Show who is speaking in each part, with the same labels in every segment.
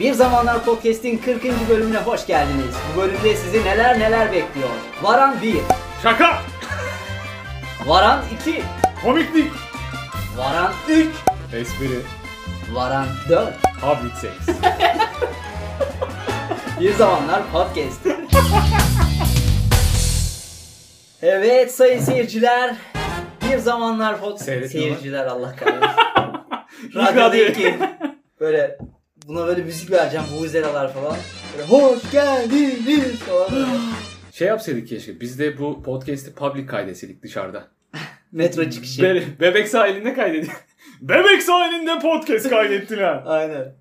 Speaker 1: Bir Zamanlar Podcast'in 40. bölümüne hoş geldiniz. Bu bölümde sizi neler neler bekliyor. Varan 1,
Speaker 2: Şaka!
Speaker 1: Varan 2,
Speaker 2: Komiklik!
Speaker 1: Varan 3,
Speaker 2: Espri.
Speaker 1: Varan 4.
Speaker 2: Public sex.
Speaker 1: Bir Zamanlar Podcast. Evet sayın seyirciler. Bir Zamanlar Podcast.
Speaker 2: Seyrediyorlar.
Speaker 1: Seyirciler Allah kahretsin. Radyo değil ki. Böyle buna böyle müzik vereceğim. Bu falan. Böyle, hoş geldiniz falan. böyle.
Speaker 3: Şey yapsaydık keşke. Biz de bu podcast'i public kaydetseydik dışarıda.
Speaker 1: Metro çıkışı.
Speaker 2: Be- Bebek sahilinde kaydedin. Bebek sahilinde podcast kaydettiler.
Speaker 1: Aynen.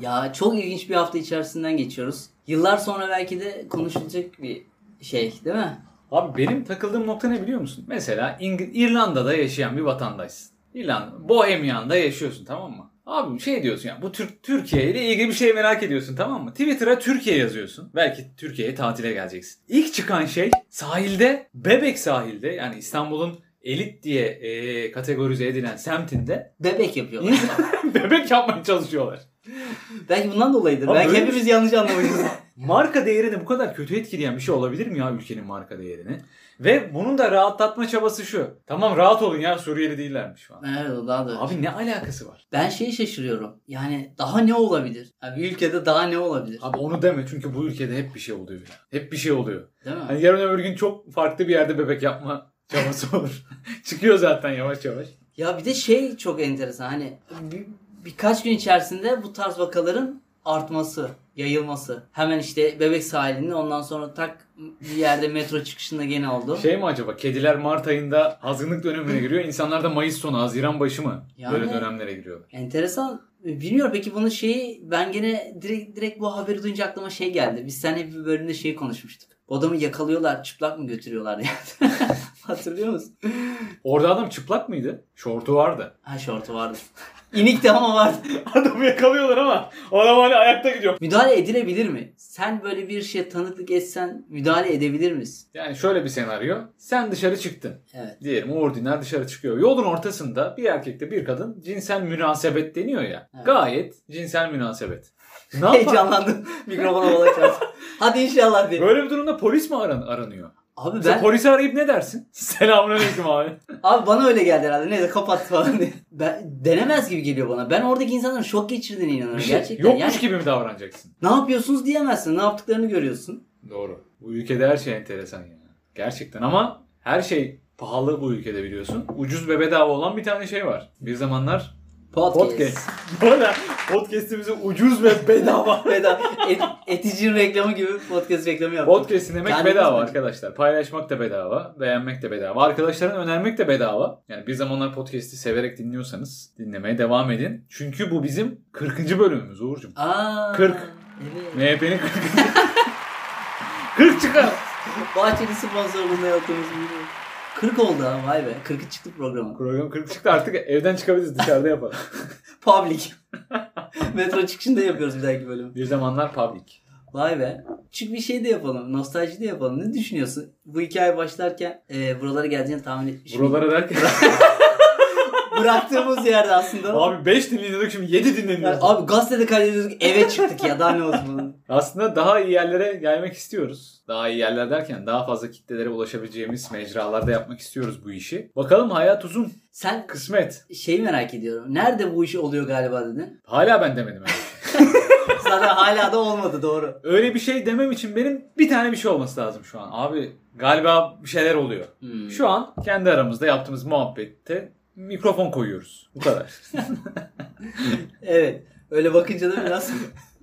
Speaker 1: Ya çok ilginç bir hafta içerisinden geçiyoruz. Yıllar sonra belki de konuşulacak bir şey değil mi?
Speaker 3: Abi benim takıldığım nokta ne biliyor musun? Mesela İng- İrlanda'da yaşayan bir vatandaşsın. İrlanda, Bohemian'da yaşıyorsun tamam mı? Abi şey diyorsun ya bu Türk Türkiye ile ilgili bir şey merak ediyorsun tamam mı? Twitter'a Türkiye yazıyorsun. Belki Türkiye'ye tatile geleceksin. İlk çıkan şey sahilde, Bebek sahilde yani İstanbul'un elit diye eee, kategorize edilen semtinde
Speaker 1: Bebek yapıyorlar.
Speaker 3: bebek yapmaya çalışıyorlar.
Speaker 1: belki bundan dolayıdır.
Speaker 3: Abi
Speaker 1: belki
Speaker 3: öyle
Speaker 1: hepimiz yanlış anlamışız.
Speaker 3: Marka değerini bu kadar kötü etkileyen bir şey olabilir mi ya ülkenin marka değerini? Ve bunun da rahatlatma çabası şu. Tamam rahat olun ya Suriyeli değillermiş falan.
Speaker 1: evet o daha da.
Speaker 3: Abi ne alakası var?
Speaker 1: Ben şeyi şaşırıyorum. Yani daha ne olabilir? Abi ülkede daha ne olabilir?
Speaker 3: Abi onu deme çünkü bu ülkede hep bir şey oluyor. ya. Hep bir şey oluyor.
Speaker 1: Değil mi?
Speaker 3: Hani yarın öbür gün çok farklı bir yerde bebek yapma çabası olur. Çıkıyor zaten yavaş yavaş.
Speaker 1: Ya bir de şey çok enteresan. Hani bir- birkaç gün içerisinde bu tarz vakaların artması, yayılması. Hemen işte bebek sahilinde ondan sonra tak bir yerde metro çıkışında gene oldu.
Speaker 3: Şey mi acaba kediler Mart ayında hazırlık dönemine giriyor. insanlar da Mayıs sonu Haziran başı mı?
Speaker 1: Yani-
Speaker 3: Böyle dönemlere giriyorlar.
Speaker 1: Enteresan. E, Bilmiyorum peki bunun şeyi ben gene direkt direkt bu haberi duyunca aklıma şey geldi. Biz seninle bir bölümde şeyi konuşmuştuk. O adamı yakalıyorlar çıplak mı götürüyorlar yani. Hatırlıyor musun?
Speaker 3: Orada adam çıplak mıydı? Şortu vardı.
Speaker 1: Ha şortu vardı. İnik de ama vardı.
Speaker 2: Adamı yakalıyorlar ama adam hala ayakta gidiyor.
Speaker 1: Müdahale edilebilir mi? Sen böyle bir şeye tanıklık etsen müdahale edebilir misin?
Speaker 3: Yani şöyle bir senaryo. Sen dışarı çıktın.
Speaker 1: Evet.
Speaker 3: Diyelim Uğur Diner dışarı çıkıyor. Yolun ortasında bir erkekle bir kadın cinsel münasebet deniyor ya.
Speaker 1: Evet.
Speaker 3: Gayet cinsel münasebet. Ne yapar?
Speaker 1: Heyecanlandım. Mikrofona bulacağız. Hadi inşallah diye.
Speaker 3: Böyle şey bir durumda polis mi aran aranıyor?
Speaker 1: Abi
Speaker 3: Sen
Speaker 1: ben
Speaker 3: polisi arayıp ne dersin? Selamünaleyküm abi.
Speaker 1: Abi bana öyle geldi herhalde. Neyse kapat falan diye. Ben, denemez gibi geliyor bana. Ben oradaki insanların şok geçirdiğine inanıyorum.
Speaker 3: Bir şey
Speaker 1: Gerçekten
Speaker 3: yokmuş
Speaker 1: yani.
Speaker 3: gibi mi davranacaksın?
Speaker 1: Ne yapıyorsunuz diyemezsin. Ne yaptıklarını görüyorsun.
Speaker 3: Doğru. Bu ülkede her şey enteresan yani. Gerçekten ama her şey pahalı bu ülkede biliyorsun. Ucuz ve bedava olan bir tane şey var. Bir zamanlar
Speaker 1: Podcast.
Speaker 3: podcast. Bu arada podcast'imizi ucuz ve bedava.
Speaker 1: Veda. Et, eticin reklamı gibi podcast reklamı yaptım.
Speaker 3: Podcast dinlemek
Speaker 1: Kendimiz
Speaker 3: bedava
Speaker 1: mi?
Speaker 3: arkadaşlar. Paylaşmak da bedava. Beğenmek de bedava. Arkadaşların önermek de bedava. Yani bir zamanlar podcast'i severek dinliyorsanız dinlemeye devam edin. Çünkü bu bizim 40. bölümümüz Uğur'cum.
Speaker 1: Aa,
Speaker 3: Kırk.
Speaker 1: Evet.
Speaker 3: MHP'nin 40. 40 çıkar.
Speaker 1: Bahçeli sponsorluğunda yaptığımız bir video. 40 oldu ha vay be. 40'ı çıktı programı.
Speaker 3: Program 40 çıktı artık evden çıkabiliriz dışarıda yapalım.
Speaker 1: Public. Metro çıkışında yapıyoruz bir dahaki bölüm.
Speaker 3: bir zamanlar public.
Speaker 1: Vay be. Küçük bir şey de yapalım. Nostalji de yapalım. Ne düşünüyorsun? Bu hikaye başlarken e, buralara geleceğini tahmin etmişim.
Speaker 3: Buralara derken
Speaker 1: Bıraktığımız yerde aslında.
Speaker 3: abi 5 dinleniyorduk şimdi 7
Speaker 1: Yani
Speaker 3: dinleniyoruz.
Speaker 1: abi gazetede kaydediyorduk eve çıktık ya daha ne olsun bunun.
Speaker 3: Aslında daha iyi yerlere gelmek istiyoruz. Daha iyi yerler derken daha fazla kitlelere ulaşabileceğimiz mecralarda yapmak istiyoruz bu işi. Bakalım hayat uzun.
Speaker 1: Sen
Speaker 3: Kısmet.
Speaker 1: şeyi merak ediyorum. Nerede bu iş oluyor galiba dedin.
Speaker 3: Hala ben demedim. yani.
Speaker 1: Zaten hala da olmadı doğru.
Speaker 3: Öyle bir şey demem için benim bir tane bir şey olması lazım şu an. Abi galiba bir şeyler oluyor.
Speaker 1: Hmm.
Speaker 3: Şu an kendi aramızda yaptığımız muhabbette mikrofon koyuyoruz. Bu kadar.
Speaker 1: Evet. Öyle bakınca da biraz.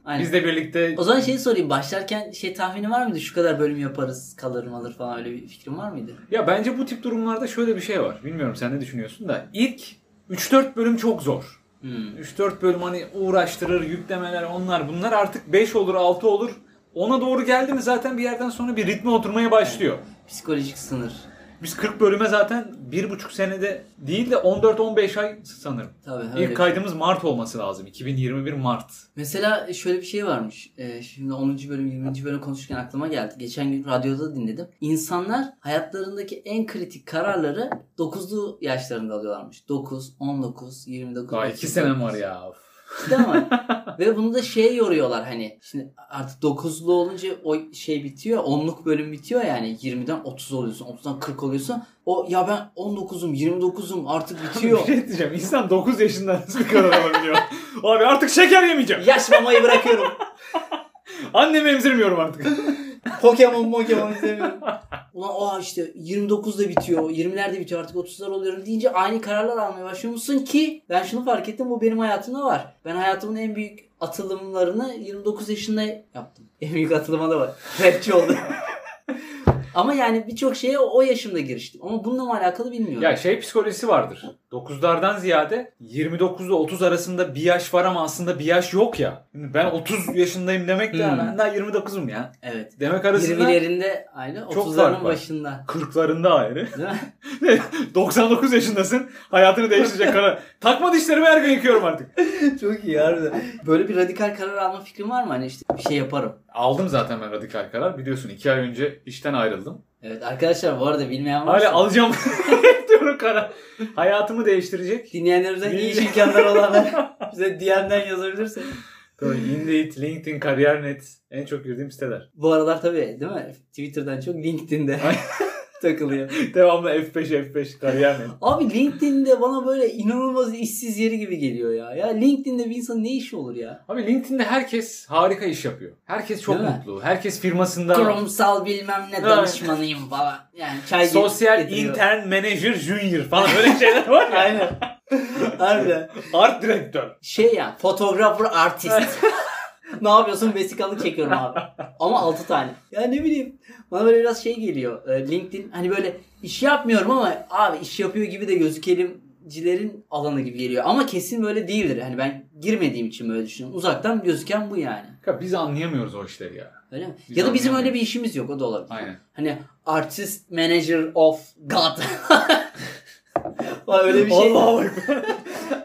Speaker 1: Aynen.
Speaker 3: Biz de birlikte
Speaker 1: O zaman şeyi sorayım. Başlarken şey tahmini var mıydı? Şu kadar bölüm yaparız kalır malır falan öyle bir fikrin var mıydı?
Speaker 3: Ya bence bu tip durumlarda şöyle bir şey var. Bilmiyorum sen ne düşünüyorsun da ilk 3-4 bölüm çok zor.
Speaker 1: Hmm.
Speaker 3: 3-4 bölüm hani uğraştırır, yüklemeler onlar bunlar artık 5 olur 6 olur. Ona doğru geldi mi zaten bir yerden sonra bir ritme oturmaya başlıyor.
Speaker 1: Psikolojik sınır.
Speaker 3: Biz 40 bölüme zaten 1,5 senede değil de 14-15 ay sanırım.
Speaker 1: Tabii öyle.
Speaker 3: İlk kaydımız Mart olması lazım. 2021 Mart.
Speaker 1: Mesela şöyle bir şey varmış. Ee, şimdi 10. bölüm 20. bölüm konuşurken aklıma geldi. Geçen gün radyoda dinledim. İnsanlar hayatlarındaki en kritik kararları 9'lu yaşlarında alıyorlarmış. 9, 19, 29.
Speaker 3: Daha 2
Speaker 1: iki
Speaker 3: senem var ya. Of.
Speaker 1: Değil mi? Ve bunu da şeye yoruyorlar hani. Şimdi artık 9'lu olunca o şey bitiyor. 10'luk bölüm bitiyor yani. 20'den 30 oluyorsun. 30'dan 40 oluyorsun. O ya ben 19'um 29'um artık bitiyor.
Speaker 2: Bir şey diyeceğim. İnsan 9 yaşında nasıl bir karar alabiliyor? Abi artık şeker yemeyeceğim.
Speaker 1: Yaş mamayı bırakıyorum.
Speaker 2: Annemi emzirmiyorum artık.
Speaker 1: Pokemon Pokemon izlemiyorum. Ulan oha işte 29'da bitiyor, 20'lerde bitiyor artık 30'lar oluyorum deyince aynı kararlar almaya başlıyor musun ki ben şunu fark ettim bu benim hayatımda var. Ben hayatımın en büyük atılımlarını 29 yaşında yaptım. En büyük atılıma da var. Rapçi oldu. Ama yani birçok şeye o yaşımda giriştim. Ama bununla mı alakalı bilmiyorum.
Speaker 3: Ya şey psikolojisi vardır. 9'lardan ziyade 29'da 30 arasında bir yaş var ama aslında bir yaş yok ya. Şimdi Ben 30 yaşındayım demek de
Speaker 1: Hmm.
Speaker 3: ben daha 29'um ya.
Speaker 1: evet.
Speaker 3: Demek arasında
Speaker 1: 20'lerinde aynı
Speaker 3: Çok fark
Speaker 1: 30'ların
Speaker 3: var.
Speaker 1: başında.
Speaker 2: 40'larında ayrı.
Speaker 1: Değil mi?
Speaker 2: 99 yaşındasın. Hayatını değiştirecek karar. Takma dişlerimi her gün yıkıyorum artık.
Speaker 1: Çok iyi harbiden. Böyle bir radikal karar alma fikrin var mı? Hani işte bir şey yaparım.
Speaker 3: aldım zaten ben radikal karar. Biliyorsun 2 ay önce işten ayrıldım.
Speaker 1: Evet arkadaşlar bu arada bilmeyen varsa
Speaker 2: Hala alacağım diyorum karar. Hayatımı değiştirecek.
Speaker 1: dinleyenlerimizden iyi iş imkanları olanlar bize DM'den yazabilirse.
Speaker 3: Tabii Indeed, LinkedIn, Kariyer.net en çok girdiğim siteler.
Speaker 1: Bu aralar tabii değil mi? Twitter'dan çok LinkedIn'de takılıyor.
Speaker 2: Devamlı F5 F5 kariyer mi?
Speaker 1: Abi LinkedIn'de bana böyle inanılmaz işsiz yeri gibi geliyor ya. Ya LinkedIn'de bir insan ne işi olur ya?
Speaker 3: Abi LinkedIn'de herkes harika iş yapıyor. Herkes çok
Speaker 1: Değil mi?
Speaker 3: mutlu. Herkes firmasında
Speaker 1: Kurumsal bilmem ne danışmanıyım falan. Yani çay get-
Speaker 3: sosyal
Speaker 1: getiriyor.
Speaker 3: intern manager junior falan böyle şeyler var ya.
Speaker 1: Aynen. Harbiden.
Speaker 2: Art direktör.
Speaker 1: Şey ya fotoğrafır artist. ne yapıyorsun? Vesikalık çekiyorum abi. Ama 6 tane. Ya ne bileyim. Bana böyle biraz şey geliyor. Ee, LinkedIn hani böyle iş yapmıyorum ama abi iş yapıyor gibi de gözükelimcilerin alanı gibi geliyor. Ama kesin böyle değildir. Hani ben girmediğim için böyle düşünüyorum. Uzaktan gözüken bu yani.
Speaker 3: Ya Biz anlayamıyoruz o işleri ya.
Speaker 1: Öyle mi?
Speaker 3: Biz
Speaker 1: ya da bizim
Speaker 3: anlayamıyoruz.
Speaker 1: öyle bir işimiz yok. O da olabilir.
Speaker 3: Aynen.
Speaker 1: Hani artist manager of God. Vay, öyle bir şey.
Speaker 2: Allah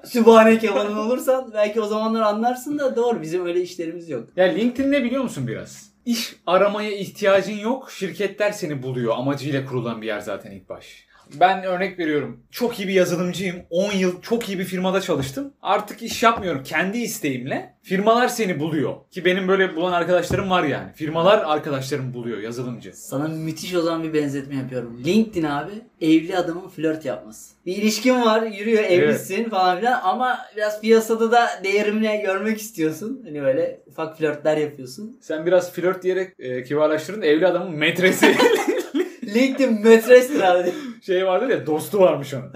Speaker 1: Sübhaneke falan olursan belki o zamanlar anlarsın da doğru bizim öyle işlerimiz yok.
Speaker 3: Ya LinkedIn ne biliyor musun biraz? İş aramaya ihtiyacın yok. Şirketler seni buluyor. Amacıyla kurulan bir yer zaten ilk baş. Ben örnek veriyorum. Çok iyi bir yazılımcıyım. 10 yıl çok iyi bir firmada çalıştım. Artık iş yapmıyorum. Kendi isteğimle. Firmalar seni buluyor. Ki benim böyle bulan arkadaşlarım var yani. Firmalar arkadaşlarım buluyor yazılımcı.
Speaker 1: Sana müthiş o zaman bir benzetme yapıyorum. LinkedIn abi evli adamın flört yapması. Bir ilişkin var yürüyor evlisin falan filan ama biraz piyasada da değerini görmek istiyorsun. Hani böyle ufak flörtler yapıyorsun.
Speaker 3: Sen biraz flört diyerek e, kibarlaştırdın. Evli adamın metresi
Speaker 1: LinkedIn metrestir abi.
Speaker 3: şey vardır ya dostu varmış onun.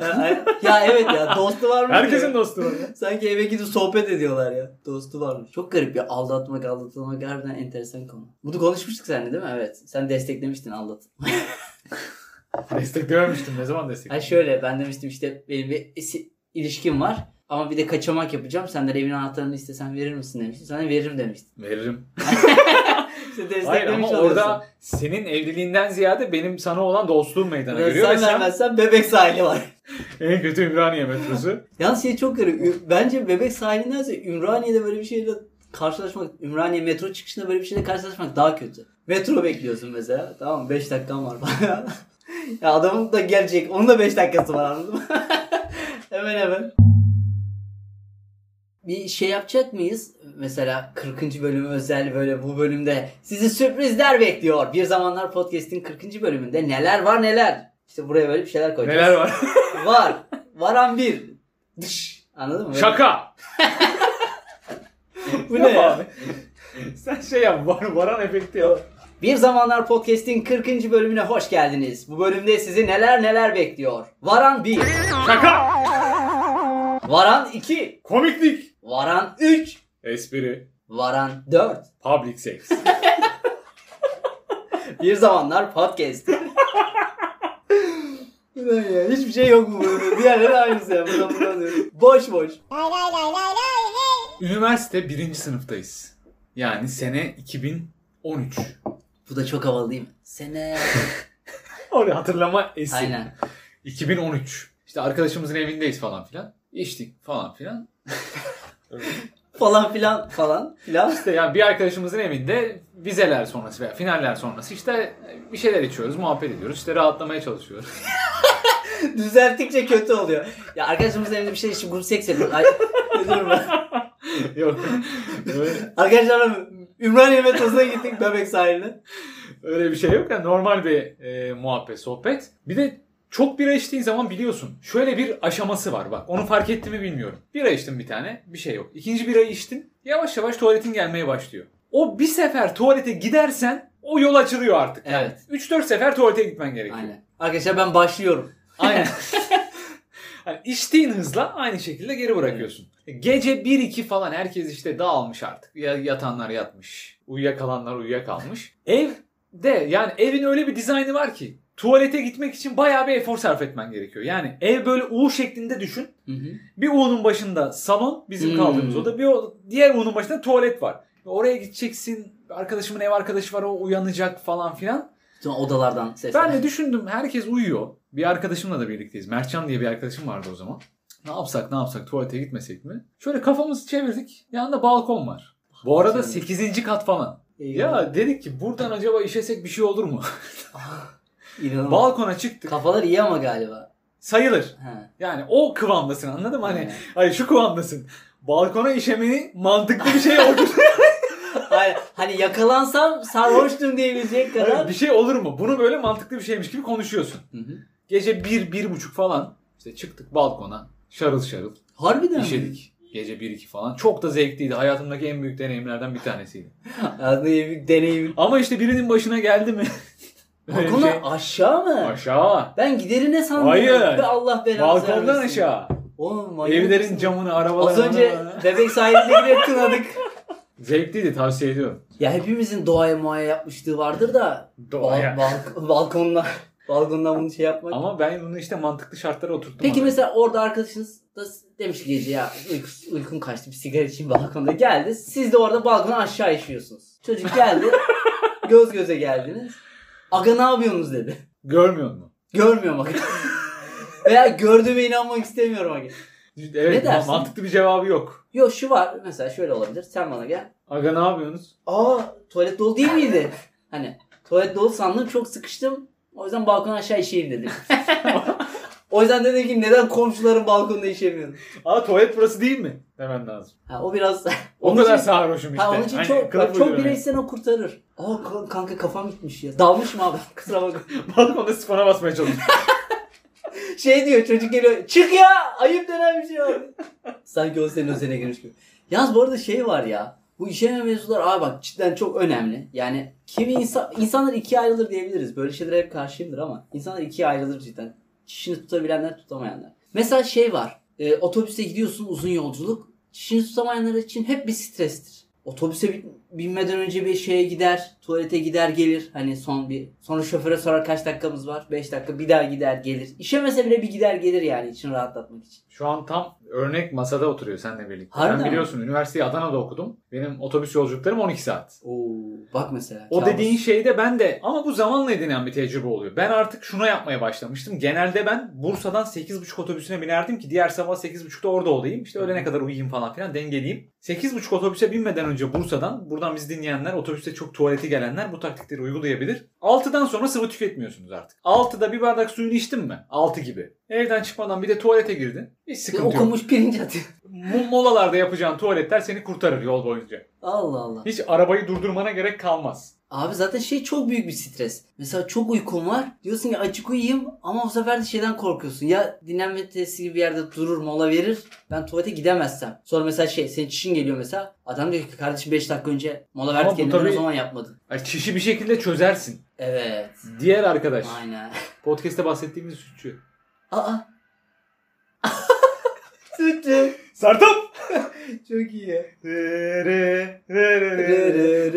Speaker 1: ya evet ya dostu var mı?
Speaker 2: Herkesin dostu var.
Speaker 1: Sanki eve gidip sohbet ediyorlar ya. Dostu varmış. Çok garip ya. Aldatmak, aldatılmak harbiden enteresan konu. Bunu konuşmuştuk seninle değil mi? Evet. Sen desteklemiştin aldat.
Speaker 3: Desteklememiştim. Ne zaman
Speaker 1: Ha
Speaker 3: destekledin?
Speaker 1: şöyle ben demiştim işte benim bir isi- ilişkim var. Ama bir de kaçamak yapacağım. Senden evin anahtarını istesen verir misin demiştim. Sana veririm demiştim.
Speaker 3: Veririm.
Speaker 1: İşte desteklemiş
Speaker 3: Hayır ama
Speaker 1: oluyorsun.
Speaker 3: orada senin evliliğinden ziyade benim sana olan dostluğum meydana
Speaker 1: Ve
Speaker 3: geliyor.
Speaker 1: sen
Speaker 3: Ve sen
Speaker 1: vermezsen bebek sahili var.
Speaker 3: en kötü Ümraniye metrosu.
Speaker 1: Yalnız şey çok garip. Ü- Bence bebek sahilindense Ümraniye'de böyle bir şeyle karşılaşmak, Ümraniye metro çıkışında böyle bir şeyle karşılaşmak daha kötü. Metro bekliyorsun mesela. Tamam mı? 5 dakikan var bana. ya adamın da gelecek. Onun da 5 dakikası var anladın mı? hemen hemen. Bir şey yapacak mıyız? Mesela 40. bölümü özel böyle bu bölümde sizi sürprizler bekliyor. Bir zamanlar podcast'in 40. bölümünde neler var neler. İşte buraya böyle bir şeyler koyacağız.
Speaker 3: Neler var?
Speaker 1: Var. Varan bir. Dış. Anladın mı?
Speaker 3: Şaka.
Speaker 1: Bu ne ya?
Speaker 3: Abi. Sen şey yap. Var, varan efekti ya.
Speaker 1: Bir Zamanlar Podcast'in 40. bölümüne hoş geldiniz. Bu bölümde sizi neler neler bekliyor. Varan 1.
Speaker 2: Şaka.
Speaker 1: Varan 2.
Speaker 2: Komiklik.
Speaker 1: Varan 3.
Speaker 3: Espri.
Speaker 1: Varan 4.
Speaker 3: Public sex.
Speaker 1: Bir Zamanlar Podcast. Bu ne ya? Hiçbir şey yok mu bölümde? Diğerleri aynısı ya. Buradan buradan diyorum. Boş boş.
Speaker 3: Üniversite birinci sınıftayız. Yani sene 2013.
Speaker 1: Bu da çok havalı değil mi? Sene.
Speaker 3: Orada hatırlama esi.
Speaker 1: Aynen.
Speaker 3: 2013. İşte arkadaşımızın evindeyiz falan filan. İçtik falan filan.
Speaker 1: Falan filan falan filan.
Speaker 3: İşte yani bir arkadaşımızın evinde vizeler sonrası veya finaller sonrası işte bir şeyler içiyoruz, muhabbet ediyoruz. işte rahatlamaya çalışıyoruz.
Speaker 1: Düzelttikçe kötü oluyor. Ya arkadaşımızın evinde bir şey için grup seks yapıyoruz. Ay, ne diyorum ben?
Speaker 3: Yok. öyle,
Speaker 1: Arkadaşlar Ümraniye metrosuna gittik bebek sahiline.
Speaker 3: öyle bir şey yok. Yani normal bir e, muhabbet, sohbet. Bir de çok bira içtiğin zaman biliyorsun. Şöyle bir aşaması var bak. Onu fark etti mi bilmiyorum. Bira içtin bir tane. Bir şey yok. İkinci birayı içtin. Yavaş yavaş tuvaletin gelmeye başlıyor. O bir sefer tuvalete gidersen o yol açılıyor artık.
Speaker 1: Evet.
Speaker 3: 3-4 sefer tuvalete gitmen gerekiyor.
Speaker 1: Aynen. Arkadaşlar ben başlıyorum.
Speaker 3: Aynen. hani içtiğin hızla aynı şekilde geri bırakıyorsun. Gece 1-2 falan herkes işte dağılmış artık. Ya yatanlar yatmış. Uyuyakalanlar uyuyakalmış. Evde yani evin öyle bir dizaynı var ki tuvalete gitmek için bayağı bir efor sarf etmen gerekiyor. Yani ev böyle U şeklinde düşün.
Speaker 1: Hı hı.
Speaker 3: Bir U'nun başında salon bizim
Speaker 1: Hmm.
Speaker 3: kaldığımız oda. Bir o- diğer U'nun başında tuvalet var. Oraya gideceksin. Arkadaşımın ev arkadaşı var o uyanacak falan filan.
Speaker 1: Sonra odalardan sesler.
Speaker 3: Ben de düşündüm herkes uyuyor. Bir arkadaşımla da birlikteyiz. Mertcan diye bir arkadaşım vardı o zaman. Ne yapsak ne yapsak tuvalete gitmesek mi? Şöyle kafamızı çevirdik. Yanında balkon var. Bu arada
Speaker 1: Sen-
Speaker 3: 8. kat falan.
Speaker 1: Eyvallah.
Speaker 3: Ya dedik ki buradan acaba işesek bir şey olur mu?
Speaker 1: İnanılmaz.
Speaker 3: Balkona çıktık.
Speaker 1: Kafalar iyi ama galiba.
Speaker 3: Sayılır.
Speaker 1: He.
Speaker 3: Yani o kıvamdasın anladın mı? Hani,
Speaker 1: Aynen.
Speaker 3: hani şu kıvamdasın. Balkona işemeni mantıklı bir şey olur.
Speaker 1: Hayır, hani yakalansam sarhoştum diyebilecek kadar.
Speaker 3: bir şey olur mu? Bunu böyle mantıklı bir şeymiş gibi konuşuyorsun.
Speaker 1: Hı hı.
Speaker 3: Gece bir, bir buçuk falan işte çıktık balkona. Şarıl şarıl.
Speaker 1: Harbiden mi?
Speaker 3: İşedik. Gece 1-2 falan. Çok da zevkliydi. Hayatımdaki en büyük deneyimlerden bir tanesiydi.
Speaker 1: Aslında bir deneyim.
Speaker 3: Ama işte birinin başına geldi mi? Öyle
Speaker 1: Balkona
Speaker 3: şey.
Speaker 1: aşağı mı?
Speaker 3: Aşağı.
Speaker 1: Ben giderine sandım.
Speaker 3: Hayır.
Speaker 1: Ve Allah belanı
Speaker 3: Balkondan
Speaker 1: vermesin.
Speaker 3: aşağı.
Speaker 1: Oğlum manyak
Speaker 3: Evlerin
Speaker 1: mısın?
Speaker 3: camını,
Speaker 1: şey. Az
Speaker 3: arabalarını.
Speaker 1: önce bebek sahilinde de kınadık.
Speaker 3: Zevkliydi tavsiye ediyorum.
Speaker 1: Ya hepimizin doğaya muaya yapmışlığı vardır da.
Speaker 3: Doğaya.
Speaker 1: Bal- balk- balkondan, balkondan bunu şey yapmak.
Speaker 3: Ama ben bunu işte mantıklı şartlara oturttum.
Speaker 1: Peki
Speaker 3: adamı.
Speaker 1: mesela orada arkadaşınız da demiş ki gece ya uykus- uykum kaçtı bir sigara içeyim balkonda geldi. Siz de orada balkona aşağı işiyorsunuz. Çocuk geldi. göz göze geldiniz. Aga ne yapıyorsunuz dedi.
Speaker 3: Görmüyor musun?
Speaker 1: Görmüyorum aga. Veya gördüğüme inanmak istemiyorum aga. Ne
Speaker 3: Evet,
Speaker 1: dersin?
Speaker 3: ma- mantıklı bir cevabı yok.
Speaker 1: Yo şu var mesela şöyle olabilir. Sen bana gel.
Speaker 3: Aga ne yapıyorsunuz?
Speaker 1: Aa tuvalet dolu değil miydi? Hani tuvalet dolu sandım çok sıkıştım. O yüzden balkona aşağı işeyim dedim. o yüzden dedim ki neden komşuların balkonda işemiyorum.
Speaker 3: Aa tuvalet burası değil mi? Demen lazım.
Speaker 1: Ha, o biraz
Speaker 3: O
Speaker 1: Onun
Speaker 3: kadar
Speaker 1: için-
Speaker 3: sarhoşum işte.
Speaker 1: Ha onun için
Speaker 3: Hani
Speaker 1: çok
Speaker 3: kılıf
Speaker 1: bak, çok
Speaker 3: uyduruyorum.
Speaker 1: bira içsen o kurtarır. Aa ka- kanka kafam gitmiş ya. Dalmışım abi kusura bakma.
Speaker 3: Balkonda sifona basmaya çalışıyorum.
Speaker 1: Şey diyor çocuk geliyor. Çık ya ayıp denen bir şey var. Sanki o senin özene girmiş gibi. Yalnız bu arada şey var ya. Bu işeme mevzular abi bak cidden çok önemli. Yani kimi insan, insanlar ikiye ayrılır diyebiliriz. Böyle şeylere hep karşıyımdır ama insanlar ikiye ayrılır cidden. Çişini tutabilenler tutamayanlar. Mesela şey var. E, otobüse gidiyorsun uzun yolculuk. Çişini tutamayanlar için hep bir strestir. Otobüse bin- binmeden önce bir şeye gider, tuvalete gider gelir. Hani son bir sonra şoföre sorar kaç dakikamız var? 5 dakika bir daha gider gelir. İşemese bile bir gider gelir yani için rahatlatmak için.
Speaker 3: Şu an tam örnek masada oturuyor seninle birlikte.
Speaker 1: Harbiden
Speaker 3: ben
Speaker 1: mi?
Speaker 3: biliyorsun üniversiteyi Adana'da okudum. Benim otobüs yolculuklarım 12 saat.
Speaker 1: Oo, bak mesela.
Speaker 3: O
Speaker 1: kabus.
Speaker 3: dediğin şey şeyde ben de ama bu zamanla edinen bir tecrübe oluyor. Ben artık şuna yapmaya başlamıştım. Genelde ben Bursa'dan 8.30 otobüsüne binerdim ki diğer sabah 8.30'da orada olayım. İşte öğlene kadar uyuyayım falan filan dengeleyeyim. 8.30 otobüse binmeden önce Bursa'dan buradan bizi dinleyenler otobüste çok tuvaleti gelenler bu taktikleri uygulayabilir. 6'dan sonra sıvı tüketmiyorsunuz artık. 6'da bir bardak suyunu içtin mi? 6 gibi. Evden çıkmadan bir de tuvalete girdin. Hiç
Speaker 1: Bir
Speaker 3: sıkıntı yok.
Speaker 1: E, okumuş pirinç atıyor.
Speaker 3: Mo- Molalarda yapacağın tuvaletler seni kurtarır yol boyunca.
Speaker 1: Allah Allah.
Speaker 3: Hiç arabayı durdurmana gerek kalmaz.
Speaker 1: Abi zaten şey çok büyük bir stres. Mesela çok uykun var. Diyorsun ki açık uyuyayım ama bu sefer de şeyden korkuyorsun. Ya dinlenme tesisi gibi bir yerde durur mola verir. Ben tuvalete gidemezsem. Sonra mesela şey senin çişin geliyor mesela. Adam diyor ki kardeşim 5 dakika önce mola
Speaker 3: Ama bu
Speaker 1: verdik kendine
Speaker 3: tabii-
Speaker 1: o zaman yapmadın.
Speaker 3: Yani çişi bir şekilde çözersin.
Speaker 1: Evet.
Speaker 3: Diğer arkadaş.
Speaker 1: Aynen.
Speaker 3: Podcast'te bahsettiğimiz suçu.
Speaker 1: Aa. Sütçü.
Speaker 3: Sertap!
Speaker 1: Çok iyi.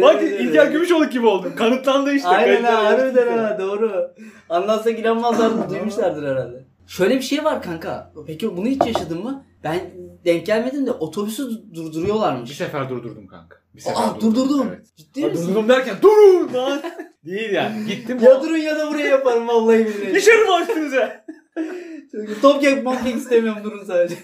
Speaker 3: Bak İlker Gümüşoluk gibi oldum. Kanıtlandı işte.
Speaker 1: Aynen ha
Speaker 3: Kayıtlara
Speaker 1: harbiden
Speaker 3: yansıdı.
Speaker 1: ha doğru. Anlatsa inanmazlar duymuşlardır herhalde. Şöyle bir şey var kanka. Peki bunu hiç yaşadın mı? Ben denk gelmedim de otobüsü du-
Speaker 3: Bir
Speaker 1: durduruyorlarmış.
Speaker 3: sefer durdurdum kanka. Bir sefer
Speaker 1: Aa durdurdum.
Speaker 3: Evet.
Speaker 1: Ciddi
Speaker 3: Ha,
Speaker 1: misin?
Speaker 3: Durdurdum derken durun lan. Değil yani. Gittim.
Speaker 1: Ya durun ya da buraya yaparım vallahi billahi.
Speaker 3: İşerim açtınıza.
Speaker 1: Top kek mop kek istemiyorum durun sadece.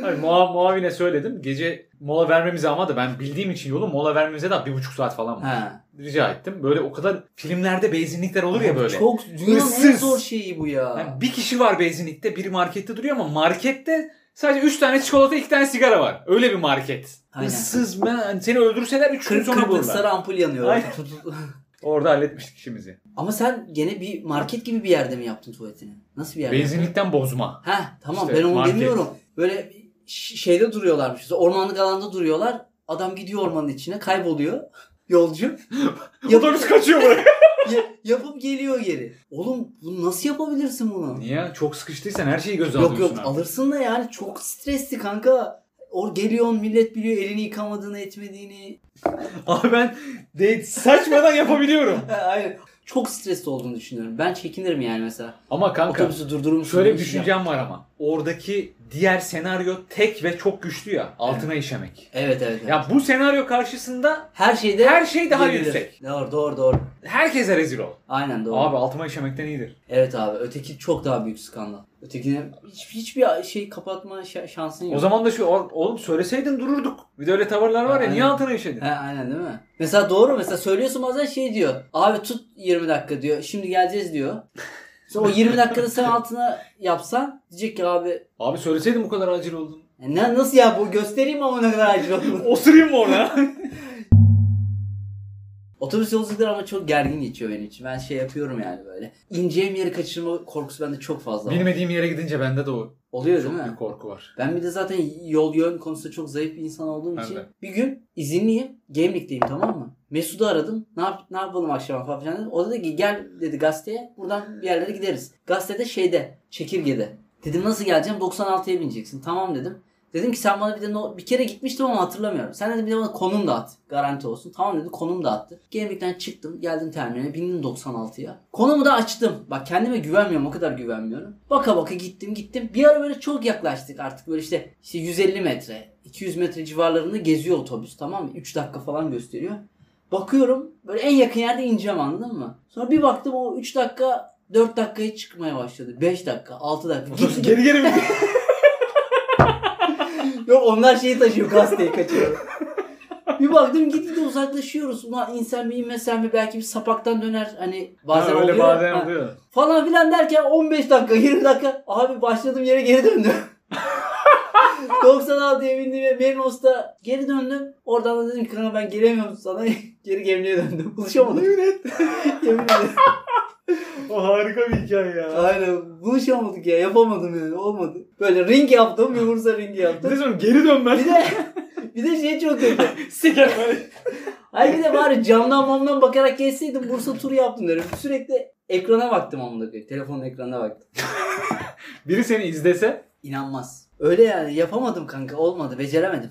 Speaker 3: Hayır, muha- muavine söyledim. Gece mola vermemize ama da ben bildiğim için yolu mola vermemize daha bir buçuk saat falan var.
Speaker 1: Ha.
Speaker 3: Rica ettim. Böyle o kadar filmlerde benzinlikler olur ya böyle.
Speaker 1: Çok dünyanın en
Speaker 3: Hırsız.
Speaker 1: zor şeyi bu ya.
Speaker 3: Yani bir kişi var benzinlikte, biri markette duruyor ama markette Sadece 3 tane çikolata 2 tane sigara var. Öyle bir market.
Speaker 1: Aynen.
Speaker 3: Hırsız ben, seni öldürseler 3 gün
Speaker 1: Kırk
Speaker 3: sonra
Speaker 1: kırpık
Speaker 3: bulurlar.
Speaker 1: sarı ampul yanıyor.
Speaker 3: Aynen. Orada halletmiştik işimizi.
Speaker 1: Ama sen gene bir market gibi bir yerde mi yaptın tuvaletini? Nasıl bir yerde?
Speaker 3: Benzinlikten bozma.
Speaker 1: Ha tamam
Speaker 3: İşte
Speaker 1: ben onu
Speaker 3: market.
Speaker 1: demiyorum. Böyle ş- şeyde duruyorlarmış. Ormanlık alanda duruyorlar. Adam gidiyor ormanın içine kayboluyor. Yolcu. yapıp,
Speaker 3: Otobüs kaçıyor buraya.
Speaker 1: ya- yapıp geliyor geri. Oğlum bunu nasıl yapabilirsin bunu?
Speaker 3: Niye? Çok sıkıştıysan her şeyi göze
Speaker 1: Yok
Speaker 3: alıyorsun.
Speaker 1: yok
Speaker 3: abi.
Speaker 1: alırsın da yani çok stresli kanka. Or geliyorsun millet biliyor elini yıkamadığını etmediğini.
Speaker 3: Abi ben de saçmadan yapabiliyorum.
Speaker 1: Aynen. Çok stresli olduğunu düşünüyorum. Ben çekinirim yani mesela.
Speaker 3: Ama kanka
Speaker 1: Otobüsü durdurur musun?
Speaker 3: şöyle bir
Speaker 1: Yap-
Speaker 3: düşüncem var ama. Oradaki diğer senaryo tek ve çok güçlü ya. Altına işemek.
Speaker 1: Evet evet. evet.
Speaker 3: Ya bu senaryo karşısında
Speaker 1: her şeyde
Speaker 3: her şey daha
Speaker 1: yenilir.
Speaker 3: yüksek.
Speaker 1: Doğru doğru doğru.
Speaker 3: herkese rezil ol.
Speaker 1: Aynen doğru.
Speaker 3: Abi altıma işemekten iyidir.
Speaker 1: Evet abi öteki çok daha büyük skandal. Ötekine hiç, hiçbir şey kapatma şa- şansın yok.
Speaker 3: O zaman da şu "Or- oğlum söyleseydin dururduk. Bir de öyle tavırlar var ya niye
Speaker 1: Aynen.
Speaker 3: altına işedin?
Speaker 1: He, aynen değil mi? Mesela doğru mesela söylüyorsun bazen şey diyor. Abi tut 20 dakika diyor. Şimdi geleceğiz diyor. Sonra o 20 dakikada sen altına yapsan diyecek ki abi e,
Speaker 3: Abi söyleseydin bu kadar acil oldun.
Speaker 1: ne, nasıl ya bu göstereyim ama ne kadar acil olduğunu.
Speaker 3: Osurayım mı orada?
Speaker 1: Otobüs yolculukları ama çok gergin geçiyor benim için. Ben şey yapıyorum yani böyle. İneceğim yeri kaçırma korkusu bende çok fazla var.
Speaker 3: Bilmediğim yere gidince bende de o
Speaker 1: Oluyor
Speaker 3: çok
Speaker 1: değil mi?
Speaker 3: büyük korku var.
Speaker 1: Ben bir de zaten yol yön konusunda çok zayıf bir insan olduğum
Speaker 3: Ben
Speaker 1: için.
Speaker 3: de.
Speaker 1: Bir gün izinliyim. Gemlik'teyim tamam mı? Mesut'u aradım. Ne, yap, ne yapalım akşam falan filan dedi. O da dedi ki gel dedi gazeteye. Buradan bir yerlere gideriz. Gazetede şeyde. Çekirge'de. Dedim nasıl geleceğim? 96'ya bineceksin. Tamam dedim. Dedim ki sen bana bir de no- bir kere gitmiştim ama hatırlamıyorum. Sen dedi bir de bana konum da at. Garanti olsun. Tamam dedi konum da attı. Gemlik'ten çıktım. Geldim terminale. Bindim 96'ya. Konumu da açtım. Bak kendime güvenmiyorum. O kadar güvenmiyorum. Baka baka gittim gittim. Bir ara böyle çok yaklaştık artık. Böyle işte, işte 150 metre 200 metre civarlarında geziyor otobüs tamam mı? 3 dakika falan gösteriyor. Bakıyorum böyle en yakın yerde ineceğim anladın mı? Sonra bir baktım o 3 dakika 4 dakikaya çıkmaya başladı. 5 dakika 6 dakika. Gitti,
Speaker 3: geri geri mi?
Speaker 1: Yok onlar şeyi taşıyor gazeteyi kaçırıyor. bir baktım gitgide uzaklaşıyoruz. Ulan insan bir inmesen mi belki bir sapaktan döner. Hani bazen
Speaker 3: öyle
Speaker 1: oluyor.
Speaker 3: bazen
Speaker 1: Ha.
Speaker 3: oluyor.
Speaker 1: Falan filan derken 15 dakika 20 dakika abi başladığım yere geri döndüm. 96'ya bindim ve Merinos'ta geri döndüm. Oradan da dedim ki kanka ben gelemiyorum sana. geri gemliğe döndüm. Buluşamadık. Yemin ederim.
Speaker 2: O harika bir hikaye ya.
Speaker 1: Aynen. Buluşamadık ya. Yapamadım yani. Olmadı. Böyle ring yaptım. Yumurta ringi
Speaker 2: Bir
Speaker 1: yaptım.
Speaker 2: de sonra geri dönmen.
Speaker 1: Bir de bir de şey çok kötü.
Speaker 2: Siker böyle.
Speaker 1: Hayır bir de bari camdan mamdan bakarak geçseydim Bursa turu yaptım derim. Sürekli ekrana baktım amına koyayım. Telefonun ekranına baktım.
Speaker 3: Biri seni izlese
Speaker 1: İnanmaz. Öyle yani yapamadım kanka. Olmadı. Beceremedim.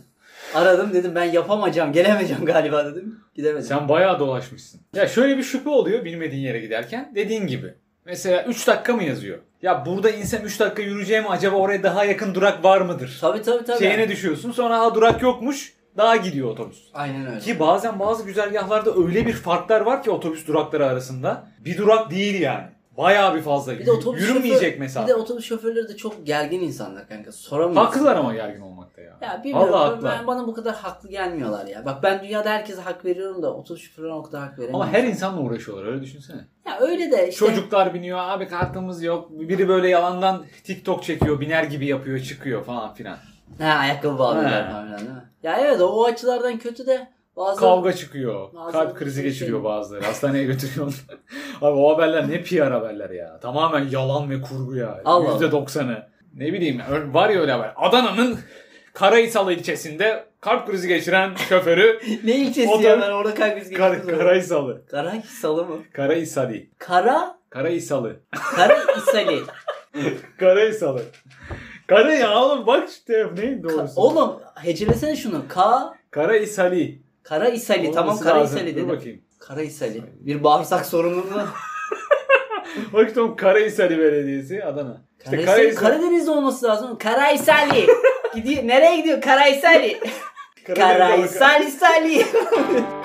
Speaker 1: Aradım dedim ben yapamayacağım. Gelemeyeceğim galiba dedim. Gidemedim.
Speaker 3: sen bayağı dolaşmışsın. Ya şöyle bir şüphe oluyor bilmediğin yere giderken. Dediğin gibi. Mesela 3 dakika mı yazıyor? Ya burada insem 3 dakika yürüyeceğim acaba oraya daha yakın durak var mıdır?
Speaker 1: Tabii tabii tabii.
Speaker 3: Şeyine düşüyorsun sonra ha durak yokmuş daha gidiyor otobüs.
Speaker 1: Aynen öyle.
Speaker 3: Ki bazen bazı güzergahlarda öyle bir farklar var ki otobüs durakları arasında. Bir durak değil yani. Bayağı bir fazla.
Speaker 1: Bir de otobüs
Speaker 3: Yürünmeyecek
Speaker 1: şoför-
Speaker 3: mesafe.
Speaker 1: Bir de otobüs şoförleri de çok gergin insanlar kanka. Soramıyorsun.
Speaker 3: Haklılar ama gergin olmakta ya.
Speaker 1: Ya bilmiyorum.
Speaker 3: Vallahi
Speaker 1: ben-
Speaker 3: haklılar.
Speaker 1: ben- bana bu kadar haklı gelmiyorlar ya. Bak ben dünyada herkese hak veriyorum da otobüs şoförlerine o kadar hak veremiyorum.
Speaker 3: Ama her insanla uğraşıyorlar öyle düşünsene.
Speaker 1: Ya öyle de işte.
Speaker 3: Çocuklar biniyor abi kartımız yok. Biri böyle yalandan TikTok çekiyor biner gibi yapıyor çıkıyor falan filan.
Speaker 1: Ha ayakkabı bağlıyorlar
Speaker 3: He.
Speaker 1: falan filan değil mi? Ya evet o, o açılardan kötü de bazı...
Speaker 3: Kavga çıkıyor.
Speaker 1: Bazı- şey
Speaker 3: Kalp krizi geçiriyor bazıları. Hastaneye götürüyor. abi o haberler ne PR haberler ya. Tamamen yalan ve kurgu ya.
Speaker 1: Allah Allah.
Speaker 3: %90'ı. Ne bileyim ö- var ya öyle haber. Adana'nın Karahisal ilçesinde kalp krizi geçiren şoförü
Speaker 1: ne ilçesi
Speaker 3: O da-
Speaker 1: ya ben orada kalp krizi
Speaker 3: Kar-
Speaker 1: geçirdim. Kara...
Speaker 3: Karahisalı.
Speaker 1: Kara İsalı mı?
Speaker 3: Karahisali.
Speaker 1: Kara...
Speaker 3: Karahisalı.
Speaker 1: Kara İsali.
Speaker 2: Karahisalı.
Speaker 3: Kara ya oğlum bak işte neyin
Speaker 1: Ka-
Speaker 3: doğrusu.
Speaker 1: Oğlum hecelesene şunu. Ka...
Speaker 3: Karahisali.
Speaker 1: Kara İsali. Tamam
Speaker 3: Olması
Speaker 1: Kara
Speaker 3: lazım.
Speaker 1: İsali
Speaker 3: Dur
Speaker 1: dedim.
Speaker 3: bakayım.
Speaker 1: Kara İsali. Bir bağırsak sorununu...
Speaker 3: Bak işte o Karahisali Belediyesi Adana. İşte
Speaker 1: Kara
Speaker 3: Karahisali.
Speaker 1: İsali Karadeniz'de olması lazım. Kara İsali. Gidiyor. Nereye gidiyor? Kara İsali. Kara
Speaker 3: Karadeniz'e bak-
Speaker 1: İsali Sali.